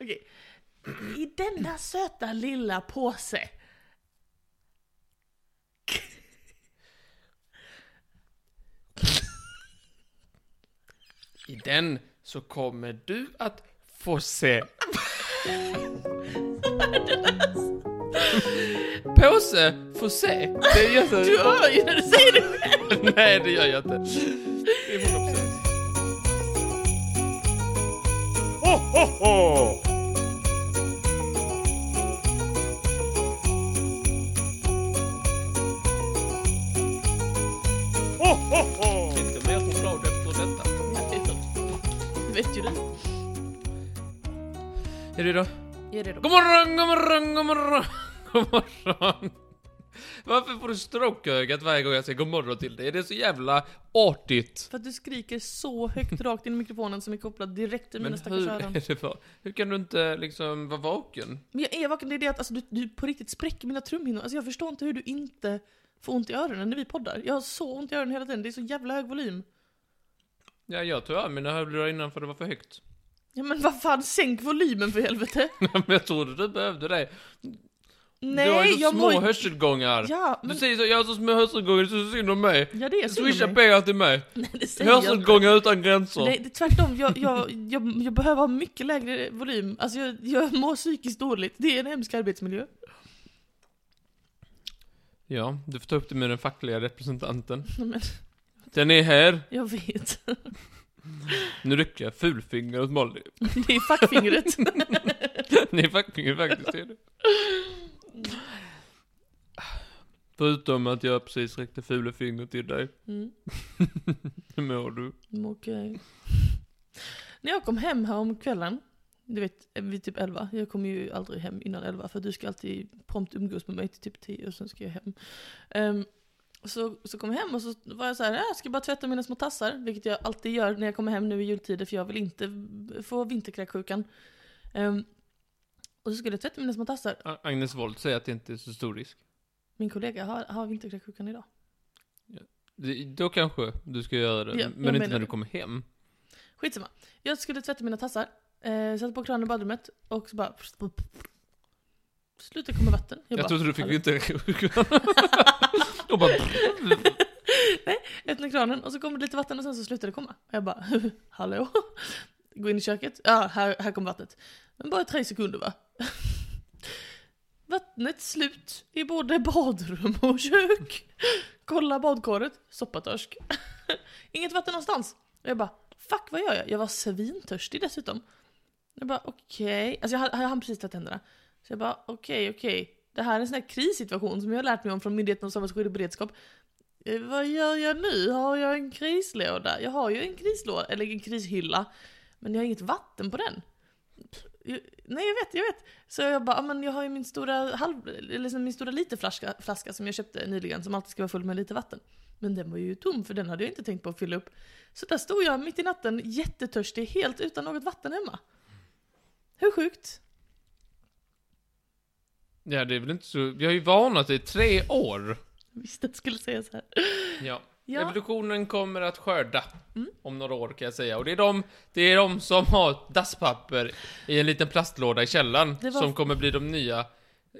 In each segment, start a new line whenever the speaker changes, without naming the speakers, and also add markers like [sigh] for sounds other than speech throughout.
Okej. I denna söta lilla påse.
I den så kommer du att få se. Påse, få se. Det är jätte...
Du hör ju när du säger det själv.
Nej, det gör jag inte. Det är 100%.
Ho, ho, ho! Ho, ho, ho!
Inte mer choklad efter detta.
Det vet ju du.
Är du då?
Gör det då.
God morgon, god morgon, god morgon, [laughs] god morgon. Varför får du strokeögat varje gång jag säger god morgon till dig? Det är så jävla artigt.
För att du skriker så högt rakt in i mikrofonen som är kopplad direkt till mina
Men
stackars
hur
öron.
är det bara? Hur kan du inte liksom vara vaken?
Men jag är vaken, det är det att alltså, du, du på riktigt spräcker mina trumhinnor. Alltså jag förstår inte hur du inte får ont i öronen när vi poddar. Jag har så ont i öronen hela tiden, det är så jävla hög volym.
Ja, jag tog av mina hörlurar innan för det var för högt. [laughs]
Ja men vad fan, sänk volymen för helvete!
Men jag trodde du behövde det.
Nej,
du har ju så
jag
små
mår...
hörselgångar.
Ja, men...
Du säger så, jag har så små hörselgångar, det är så synd om mig.
Ja det är synd om
Swisha
mig.
pengar till mig.
Nej det säger jag inte.
Hörselgångar utan gränser.
Nej, det, är tvärtom. Jag, jag, jag, jag behöver ha mycket lägre volym. Alltså jag, jag mår psykiskt dåligt. Det är en hemsk arbetsmiljö.
Ja, du får ta upp det med den fackliga representanten.
Nej, Men,
Den är här.
jag vet.
Nu rycker jag fulfingret åt Molly.
[laughs] Det är fackfingret.
[laughs] Nej, fucking faktiskt är det. Förutom att jag precis räckte fula fingret till dig.
Mm,
Hur mår du?
men okej. När jag kom hem här om kvällen, du vet vid typ 11. Jag kommer ju aldrig hem innan 11 för du ska alltid prompt umgås med mig till typ 10 och sen ska jag hem. Ehm, så, så kom jag hem och så var jag så här, "Äh, jag ska bara tvätta mina små tassar, vilket jag alltid gör när jag kommer hem nu i jultider för jag vill inte v- få vinterkräksjukan. Ehm, och så skulle jag tvätta mina små tassar.
A- Agnes Wold säger att det inte är så stor risk.
Min kollega har, har vinterkräksjukan idag.
Det- Då kanske du ska göra det,
Ja, jag
men inte
menar
när du
det.
kommer hem.
Skitsamma. Jag skulle tvätta mina tassar, eh, satte på kranen i badrummet och så bara... Sluta komma vatten.
Jag,
bara,
trodde du fick
"Hallå?"
inte
[laughs]
Och bara...
Nej, öppnade kranen och så kom det lite vatten och sen så slutade det komma. Och jag bara, [laughs] hallå? Gå in i köket, ja här, här kom vattnet. Men bara tre sekunder va? [laughs] Vattnet slut i både badrum och kök. Kolla badkaret, soppatörsk. [laughs] Inget vatten någonstans. Och jag bara, fuck vad gör jag? Jag var svintörstig dessutom. Jag bara okej, alltså jag hade, jag hann precis tvättat händerna. Så jag bara okej, okej. Det här är en sån här krissituation som jag har lärt mig om från Myndigheten om samhällsskydd och beredskap. Eh, Vad gör jag nu? Har jag en krislåda? Jag har ju en krislåda, eller en krishylla. Men jag har inget vatten på den. Jag- Nej jag vet, jag vet. Så jag bara, "Ah, men jag har ju min stora halv, eller liksom min stora literflaska flaska som jag köpte nyligen som alltid ska vara full med lite vatten. Men den var ju tom för den hade jag inte tänkt på att fylla upp. Så där stod jag mitt i natten jättetörstig helt utan något vatten hemma. Hur sjukt?
Ja, det är väl inte så... Jag har ju varnat dig i tre år.
Jag visste att du skulle säga så här.
Ja.
Ja. Mm.
Revolutionen kommer att skörda. Om några år kan jag säga. Och det är de, det är de som har dasspapper i en liten plastlåda i källaren.
Det var-
Som kommer bli de nya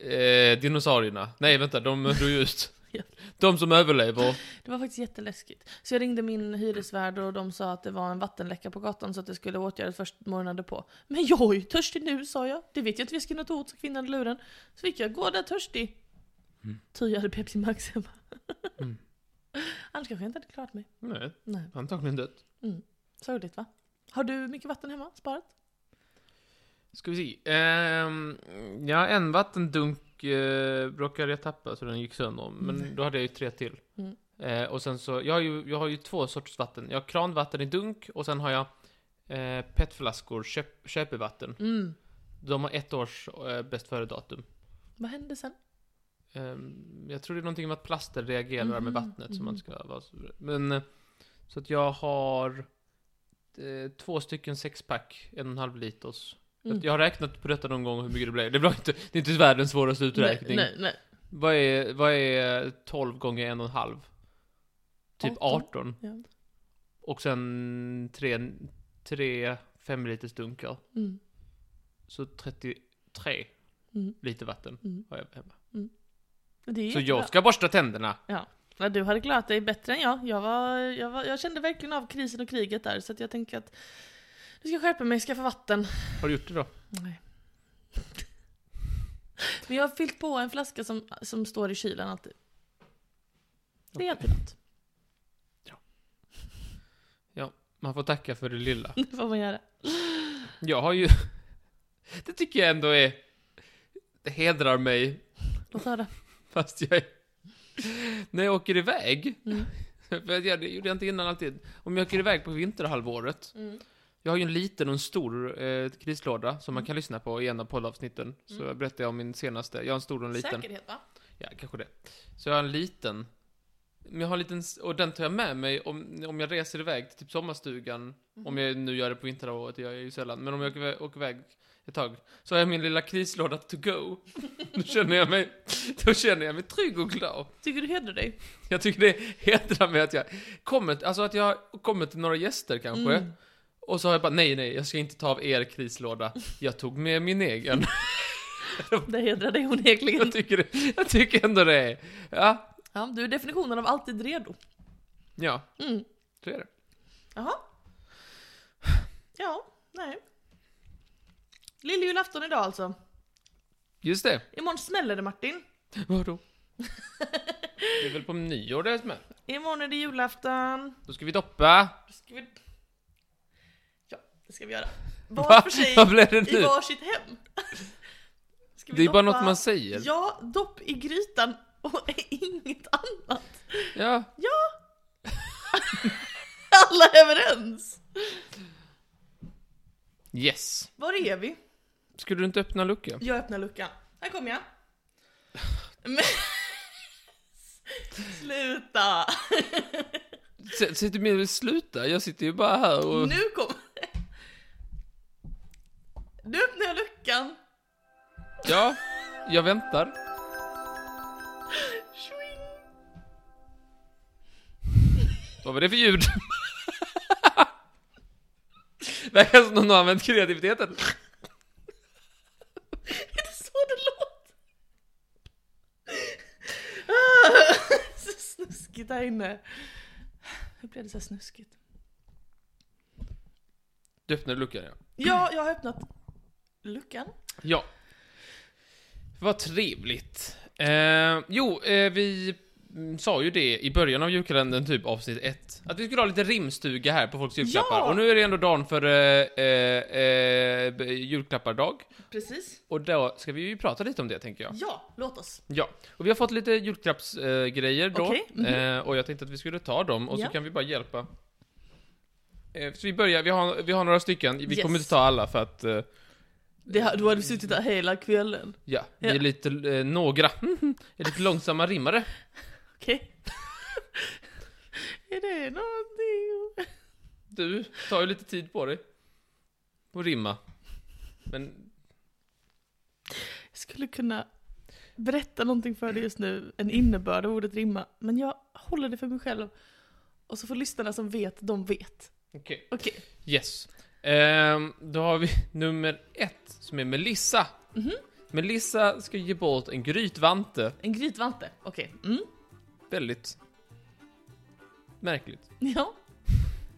eh, dinosaurierna. Nej vänta, de dog ju ut.
[laughs] Ja.
De som överlever.
Det var faktiskt jätteläskigt. Så jag ringde min hyresvärd och de sa att det var en vattenläcka på gatan så att det skulle åtgärdas först morgonen på. Men jag är ju törstig nu sa jag. Det vet jag inte vi ska kunna ta åt sig kvinnan i luren. Så fick jag gå där törstig. Tur jag hade Pepsi Max hemma.
Mm.
[laughs] Annars kanske jag inte hade klarat mig.
Nej,
Nej.
antagligen dött.
Sorgligt va? Har du mycket vatten hemma sparat?
Ska vi se. Ehm, ja, en vattendunk eh, råkade jag tappa så den gick sönder. Men
Mm.
då hade jag ju tre till.
Mm.
Eh, och sen så, jag har, ju, jag har ju två sorters vatten. Jag har kranvatten i dunk och sen har jag eh, petflaskor, köp, köpevatten.
Mm.
De har ett års eh, bäst före-datum.
Vad hände sen?
Ehm, jag tror det är någonting med att plaster reagerar med
Mhm,
vattnet som man
mhm.
ska vara så- Men, eh, så att jag har eh, två stycken sexpack, en och en halv liters.
Mm.
Jag har räknat på detta någon gång hur mycket det blev. Det, blev inte, det är inte världens svåraste uträkning.
Nej, nej, nej.
Vad, är, vad är 12 gånger en och en halv? Typ 18.
18. Ja.
Och sen tre, tre femliters dunkar.
Mm.
Så 33
Mm.
liter vatten
Mm.
har jag hemma.
Det är
Så
jättebra.
jag ska borsta tänderna.
Ja. Nej, du hade klarat dig bättre än jag. Jag, var, jag, var, jag kände verkligen av krisen och kriget där, så att jag tänker att du ska skärpa mig, skaffa vatten.
Har du gjort det då?
Nej. [laughs] Men jag har fyllt på en flaska som, som står i kylen alltid. Det är alltid något. [laughs]
Man får tacka för det
[laughs]
lilla.
Det får man göra.
Jag har ju... [laughs] Det tycker jag ändå är... Det hedrar mig,
Låt höra.
fast jag är... När jag åker iväg,
Mm.
[laughs] för jag det gjorde jag inte innan alltid. Om jag åker iväg på vinterhalvåret,
Mm.
Jag har ju en liten och en stor eh, krislåda som man kan lyssna på i en av poddavsnitten. Så
Mm.
jag berättade jag om min senaste. Jag har en stor och en liten.
Säkerhet va?
Ja, kanske det. Så jag har en liten. Men jag har en liten, s- och den tar jag med mig om, om jag reser iväg till typ sommarstugan. Om jag nu gör det på vinterhalvåret, det gör jag ju sällan. Men om jag åker iväg, åker iväg ett tag. Så har jag min lilla krislåda to go. [laughs] då, känner jag mig, då känner jag mig trygg och glad.
Tycker du hedrar dig?
Jag tycker det hedrar mig att jag kommit, alltså att jag kommit till några gäster kanske.
Mm.
Och så har jag bara, nej, nej, jag ska inte ta av er krislåda. Jag tog med min
[laughs]
egen.
Det hedrar dig
[laughs]
onekligen.
Jag tycker, det- jag tycker ändå det är, ja,
Ja, du är definitionen av alltid redo.
ja,
Mm.
så är det.
Jaha. Ja, nej. Lilljulafton idag alltså.
Just det.
Imorgon smäller det Martin. [laughs]
Vadå? Det är väl på nyår det är som är.
Imorgon är det julafton.
Då ska vi doppa.
Då Ska vi... Ja, det ska vi göra.
Va?
Var för sig,
Vad blev det
i
nu?
varsitt hem. Ska vi
Det är bara
doppa-
något man säger.
Ja, dopp i grytan och [laughs] inget annat.
Ja,
Alla är överens!
yes.
Var är vi?
Skulle du inte öppna en lucka?
Jag öppnar luckan. Här kommer jag. Men... [laughs] Sluta!
S- Sitter med sluta, jag sitter ju bara här och...
Nu kommer... Nu öppnar jag luckan.
Ja, jag väntar.
Swing.
Vad var det för ljud? Verkar som någon har använt kreativiteten.
Är det så det låter? Ah, [laughs] så snuskigt här inne. Hur blev det så här snuskigt?
Du öppnade luckan, ja.
Ja, jag har öppnat luckan.
Ja. Vad trevligt. Eh, jo, eh, vi mm, sa ju det i början av julkalendern, typ avsnitt 1. Att vi skulle ha lite rimstuga här på folks julklappar.
Ja!
Och nu är det ändå dagen för eh, eh, eh, b- julklappardag.
Precis.
Och då ska vi ju prata lite om det, tänker jag.
Ja, låt oss.
Ja, och vi har fått lite julklappsgrejer eh, grejer då.
Okej, mhm.
eh, och jag tänkte att vi skulle ta dem och
Ja.
så kan vi bara hjälpa. Eh, så vi börjar, vi har, vi har några stycken. Vi
Yes.
kommer inte ta alla för att, eh,
Det här, då hade vi suttit där hela kvällen.
ja, vi
Ja.
är lite, eh, några, [laughs] är lite långsamma rimmare.
Okej. [laughs] Är det någonting?
Du tar ju lite tid på dig. Och rimma. Men,
Jag skulle kunna berätta någonting för dig just nu, en innebörd av ordet rimma. Men jag håller det för mig själv. Och så får lyssnarna som vet, de vet.
okej.
Okej.
Yes. Ehm, då har vi nummer ett, som är Melissa.
Mhm.
Melissa ska ge bort en grytvante.
En grytvante. Okej. Mm.
Väldigt märkligt.
Ja.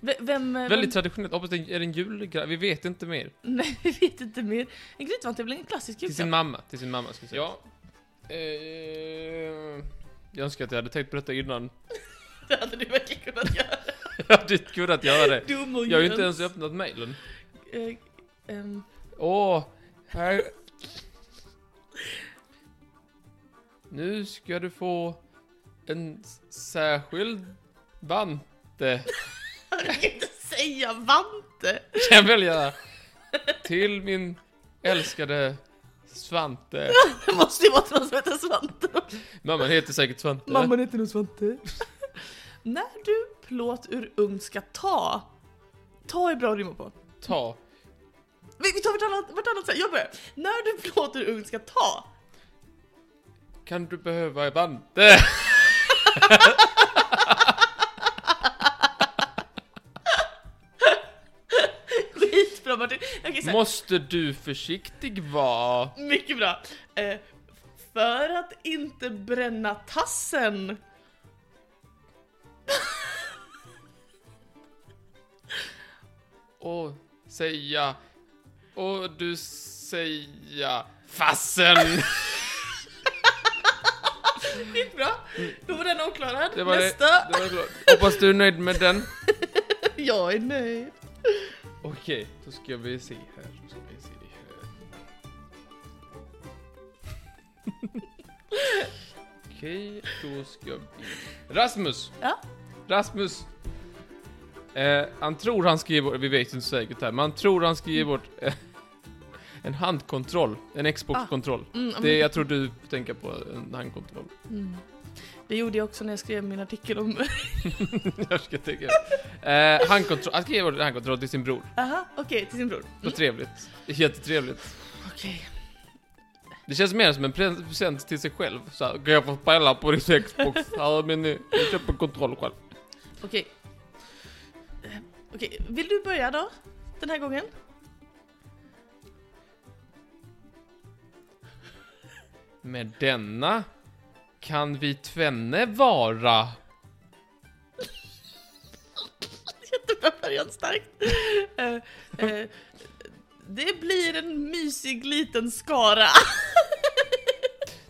V- vem... eh,
Väldigt
vem...
traditionellt. Hoppas det är en julgrej. Vi vet inte mer.
Nej, jag vet inte mer. En grytvante är väl en klassisk
Till sin
julklapp?
mamma. Till sin mamma, ska jag säga. Ja. Eh, jag önskar att jag hade tänkt på detta innan. [laughs]
Det hade du verkligen kunnat göra.
Jag hade inte kunnat göra det.
Dum och
Jag har ju inte
jöns.
ens öppnat mailen.
Eh, ehm,
Åh, här... Nu ska du få en s- särskild vante.
jag kan inte säga vante.
Kan jag välja till min älskade Svante.
Det måste ju vara någon som heter Svante. [laughs]
Mamman heter säkert Svante.
heter nog Svante. När du plåt ur ugn ska ta, ta är bra att rimma på.
Ta.
Vi, vi tar vartannat, vartannat så här, jag börjar. När du plåt ur ugn ska ta,
Kan du behöva en vante?
skitbra Martin. Okej, så här.
Måste du försiktig vara?
Mycket bra. Eh, för att inte bränna tassen.
Och säga... Och du säga... Fassen!
Det gick bra. Då var den avklarad.
Det var det.
Nästa. [laughs]
det var klart. Hoppas du är nöjd med den.
Jag är nöjd.
Okej, då ska vi se här. Då ska vi se här. Okej, då ska vi... Rasmus!
Ja.
Rasmus! Eh, han tror han ska ge bort, vi vet inte säkert här, men han tror han ska ge bort eh, en handkontroll, en Xbox-kontroll.
Mm, ja, men-
Det, jag tror du tänker på en handkontroll. [laughs]
mm. det gjorde jag också när jag skrev min artikel om... [laughs]
jag ska tänka. Eh, handkontroll, han ska ge bort en handkontroll till sin bror.
Aha, okej, till sin bror.
Vad trevligt. Jättetrevligt.
Okej.
Det känns mer som en pre- present till sig själv. Så här, kan jag få spela på din
[laughs]
Xbox? Ja, men eh, jag köper kontroll själv.
Okej. Eh, Okej, vill du börja då? Den här gången? [laughs]
Med denna kan vi tvenne vara.
Jättebra början, starkt. Eh, eh, det blir en mysig liten skara.
[laughs]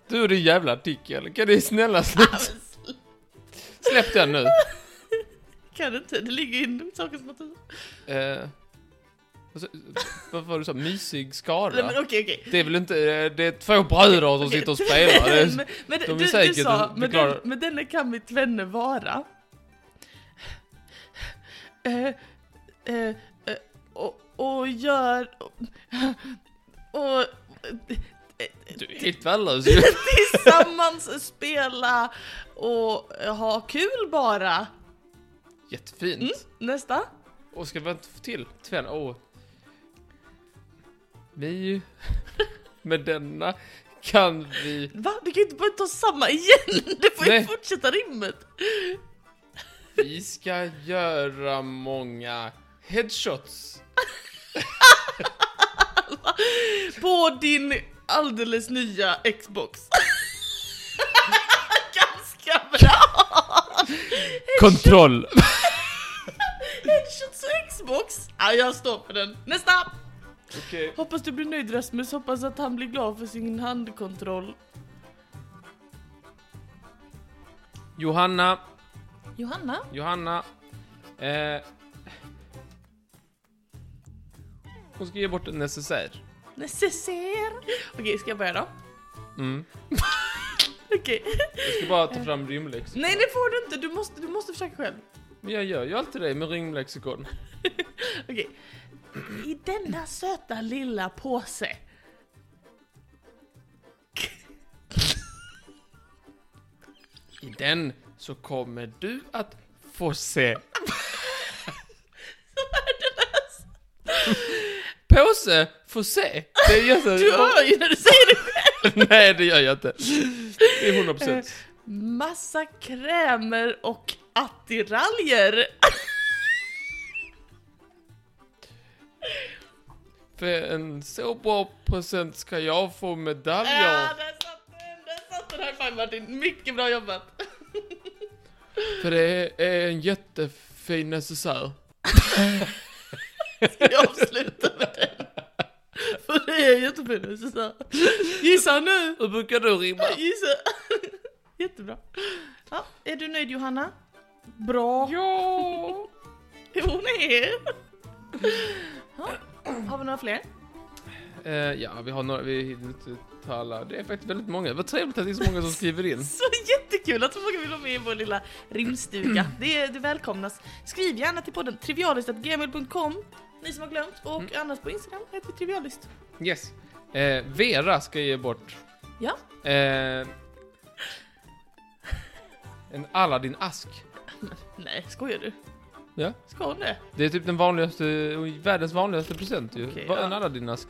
Du din jävla artikel, kan ni snälla sluta? Släpp den nu.
kan du inte? Det ligger inom sakens natur.
Eh, vad sa- vad var det du sa? Mysig
Nej, men
skara?
Okej, okej.
Det är väl inte, eh, det är två bröder som
Okej.
sitter och spelar. Det är,
[laughs] men, men,
de är
du,
säkert-
du sa,
de
men,
klarar-
den, men denne kan mitt vänner vara. Eh, eh, eh, och, och gör... Och,
du är helt värdelös
[laughs] tillsammans spela och ha kul bara.
Jättefint.
Mm, nästa.
Och ska vi få till? Tven, åh. [laughs] Vi... Med denna kan vi...
Va? Du kan ju inte bara ta samma igen! [laughs] Du får ju
Nej.
fortsätta rimmet!
Vi ska göra många headshots.
På din alldeles nya Xbox. [laughs] Ganska bra!
Kontroll!
Headshots och Xbox! Ja, jag står för den. Nästa!
Okej.
Hoppas du blir nöjd Rasmus, hoppas att han blir glad för sin handkontroll.
Johanna,
Johanna?
Johanna. Eh, hon ska ge bort en necessär.
Necessär! Okej, ska jag börja då?
Mm.
[laughs] Okej.
Jag ska bara ta fram rimlexikon.
Nej, det får du inte! Du måste, du måste försöka själv.
Men jag gör ju alltid det med rimlexikon.
Okej. I denna söta lilla påse.
I den så kommer du att få se Påse, få se. Det gör så.
[laughs] Du hör ju när du säger det själv!
[laughs] Nej, det gör jag inte. Det är 100
Eh.
procent.
Massa krämer och attiraljer.
För en så bra present ska jag få
Ja,
medaljer.
där satt den! Där satt den! High five Martin! Mycket bra jobbat!
För det är en jättefin necessär.
Ska [laughs] jag avsluta med den? För det är jättefint. så så. Gissa nu!
Hur brukar du rimma?
Gissa! [laughs] Jättebra. Ja, är du nöjd Johanna? Bra.
Ja.
Hon är. Ja, har vi några fler?
Eh, ja, vi har några, vi hinner inte ta alla. Det är faktiskt väldigt många. Vad trevligt att det är så många som skriver in.
Så jättekul att så många vill vara med i vår lilla rimstuga.
Mm.
Det, det välkomnas. Skriv gärna till podden trivialist.gmail.com ni som har glömt och
Mm.
annars på Instagram heter vi trivialist.
Yes. Eh, Vera ska ge bort
Ja,
eh, en Aladdin-ask.
nej skojar du?
Ja.
Ska hon det?
Det är typ den vanligaste, världens vanligaste present ju.
Okej,
Vad
ja.
En Aladdin-ask.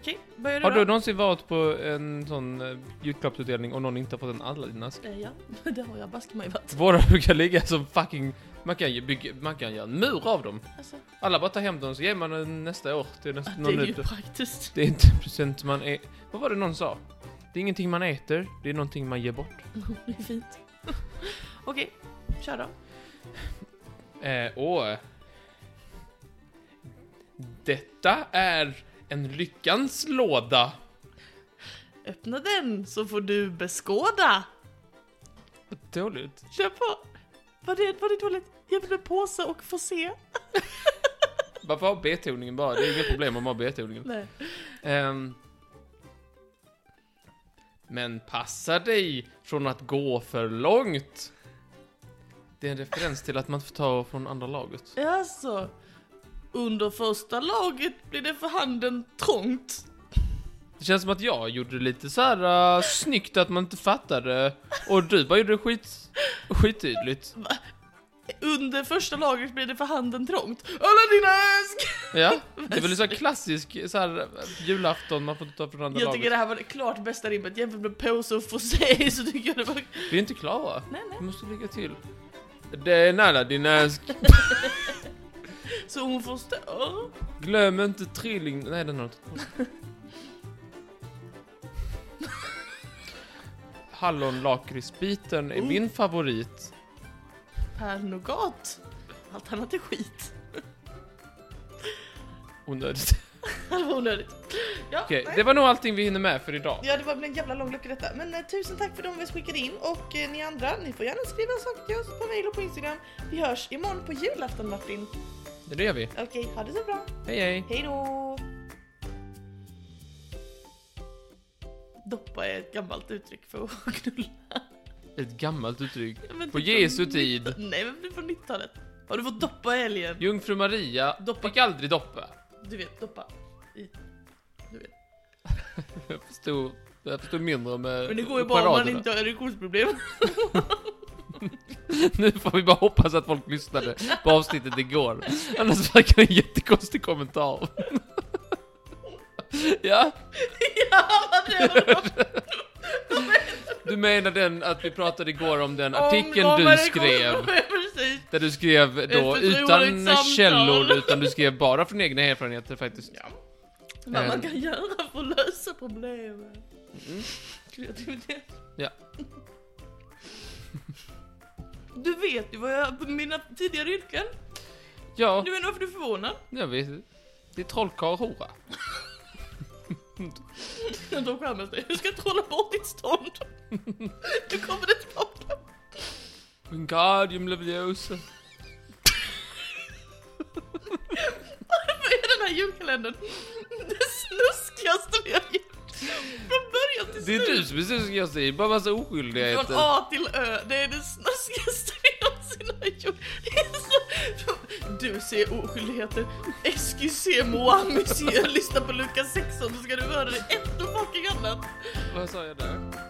Okej, börjar du
Har
då?
du någonsin varit på en sån eh, julklappsutdelning och någon inte har fått en Aladdin-ask?
Eh, Ja, [laughs] det har jag baske mig varit.
Våra brukar ligga som fucking... Man kan ju bygga, man kan göra en mur av dem.
Alltså, att
Alla bara tar hem dem så ger man den nästa år till nästa,
det
någon
är ju
ute.
praktiskt.
Det är inte en present man är... Vad var det någon sa? Det är ingenting man äter, det är någonting man ger bort.
Det är fint. [laughs] Okej, kör då.
Eh, åh. Detta är en lyckans låda.
Öppna den så får du beskåda.
Vad dåligt.
Kör på. Var det, var det dåligt? Jag vill en påse och få se.
Varför har betoningen bara? Det är inget problem om man har betoningen.
Nej.
Ehm. men passa dig från att gå för långt. Det är en referens till att man får ta från andra laget.
Alltså, under första laget blir det för handen trångt.
Det känns som att jag gjorde det lite så här äh, snyggt att man inte fattade. Och du bara gjorde det skit, skittydligt.
Under första laget blir det för handen trångt. Aladdin-ask!
Ja, det är väl en sån här klassisk så här, äh, julafton man får inte ta från andra
Jag
laget.
tycker det här var det klart bästa rimmet. Jämfört med påse och få se [laughs] så tycker jag det var...
Vi är inte klara.
Nej, nej.
Vi måste ligga till. Det är nära din ask.
Så hon förstår.
Glöm inte trilling... Nej, den har jag inte Hallonlakritsbiten är
Oh.
min favorit.
Pärlnougat. Allt annat är skit.
Onödigt.
Det var onödigt. Ja,
Okej,
nej.
det var nog allting vi hinner med för idag.
Ja, det var väl en jävla lång lucka detta. Men eh, tusen tack för de vi skickade in och eh, ni andra, ni får gärna skriva saker till oss på mail och på Instagram. Vi hörs imorgon på julafton Martin.
Det gör vi.
Okej, ha det så bra.
Hej, hej.
Hej då! Doppa är ett gammalt uttryck för att [laughs] knulla.
Ett gammalt uttryck.
Men typ
På
från
Jesu
19
tid.
Nej, men det är från 90-talet. Har du fått doppa i helgen?
Jungfru Maria
Doppa.
fick aldrig doppa.
Du vet, doppa. I. Du vet.
Jag förstod, jag förstod mindre med
Men det går ju bara om man
paraderna.
inte har erektionsproblem.
[laughs]
[laughs]
Nu får vi bara hoppas att folk lyssnade på avsnittet igår. Annars verkar det en jättekonstig kommentar. [laughs] Ja,
ja, vad
[laughs]
det var!
du menar den att vi pramade igår om den
Om
artikeln
vad
du
det
skrev?
kommer- Precis.
Där du skrev då
Ett förtroligt
utan
samtal.
källor, utan du skrev bara från egna erfarenheter faktiskt.
Ja. Vad
Eh.
man kan göra för att lösa problemen. Kreativitet.
Mm. Ja.
[laughs] Du vet ju vad jag, mina tidigare yrken.
Ja,
Du vet varför du är förvånad?
jag vet. Det är trollkarl och hora.
De skämmer sig. Hur ska jag trolla bort
[laughs]
ditt stånd? Nu kommer det tillbaka.
Wingardium Leviosa.
Varför är den här julkalendern det snuskigaste vi har gjort? Från början till
Det är du
slut.
som är snuskigast i, bara massa oskyldigheter.
Från A till Ö, det är det [laughs] snuskigaste vi någonsin har gjort. Det är så- Du ser oskyldigheter, excusez moi monsieur, lyssna på Lukas 16 så ska du höra det ett och fucking annat.
Vad sa jag där?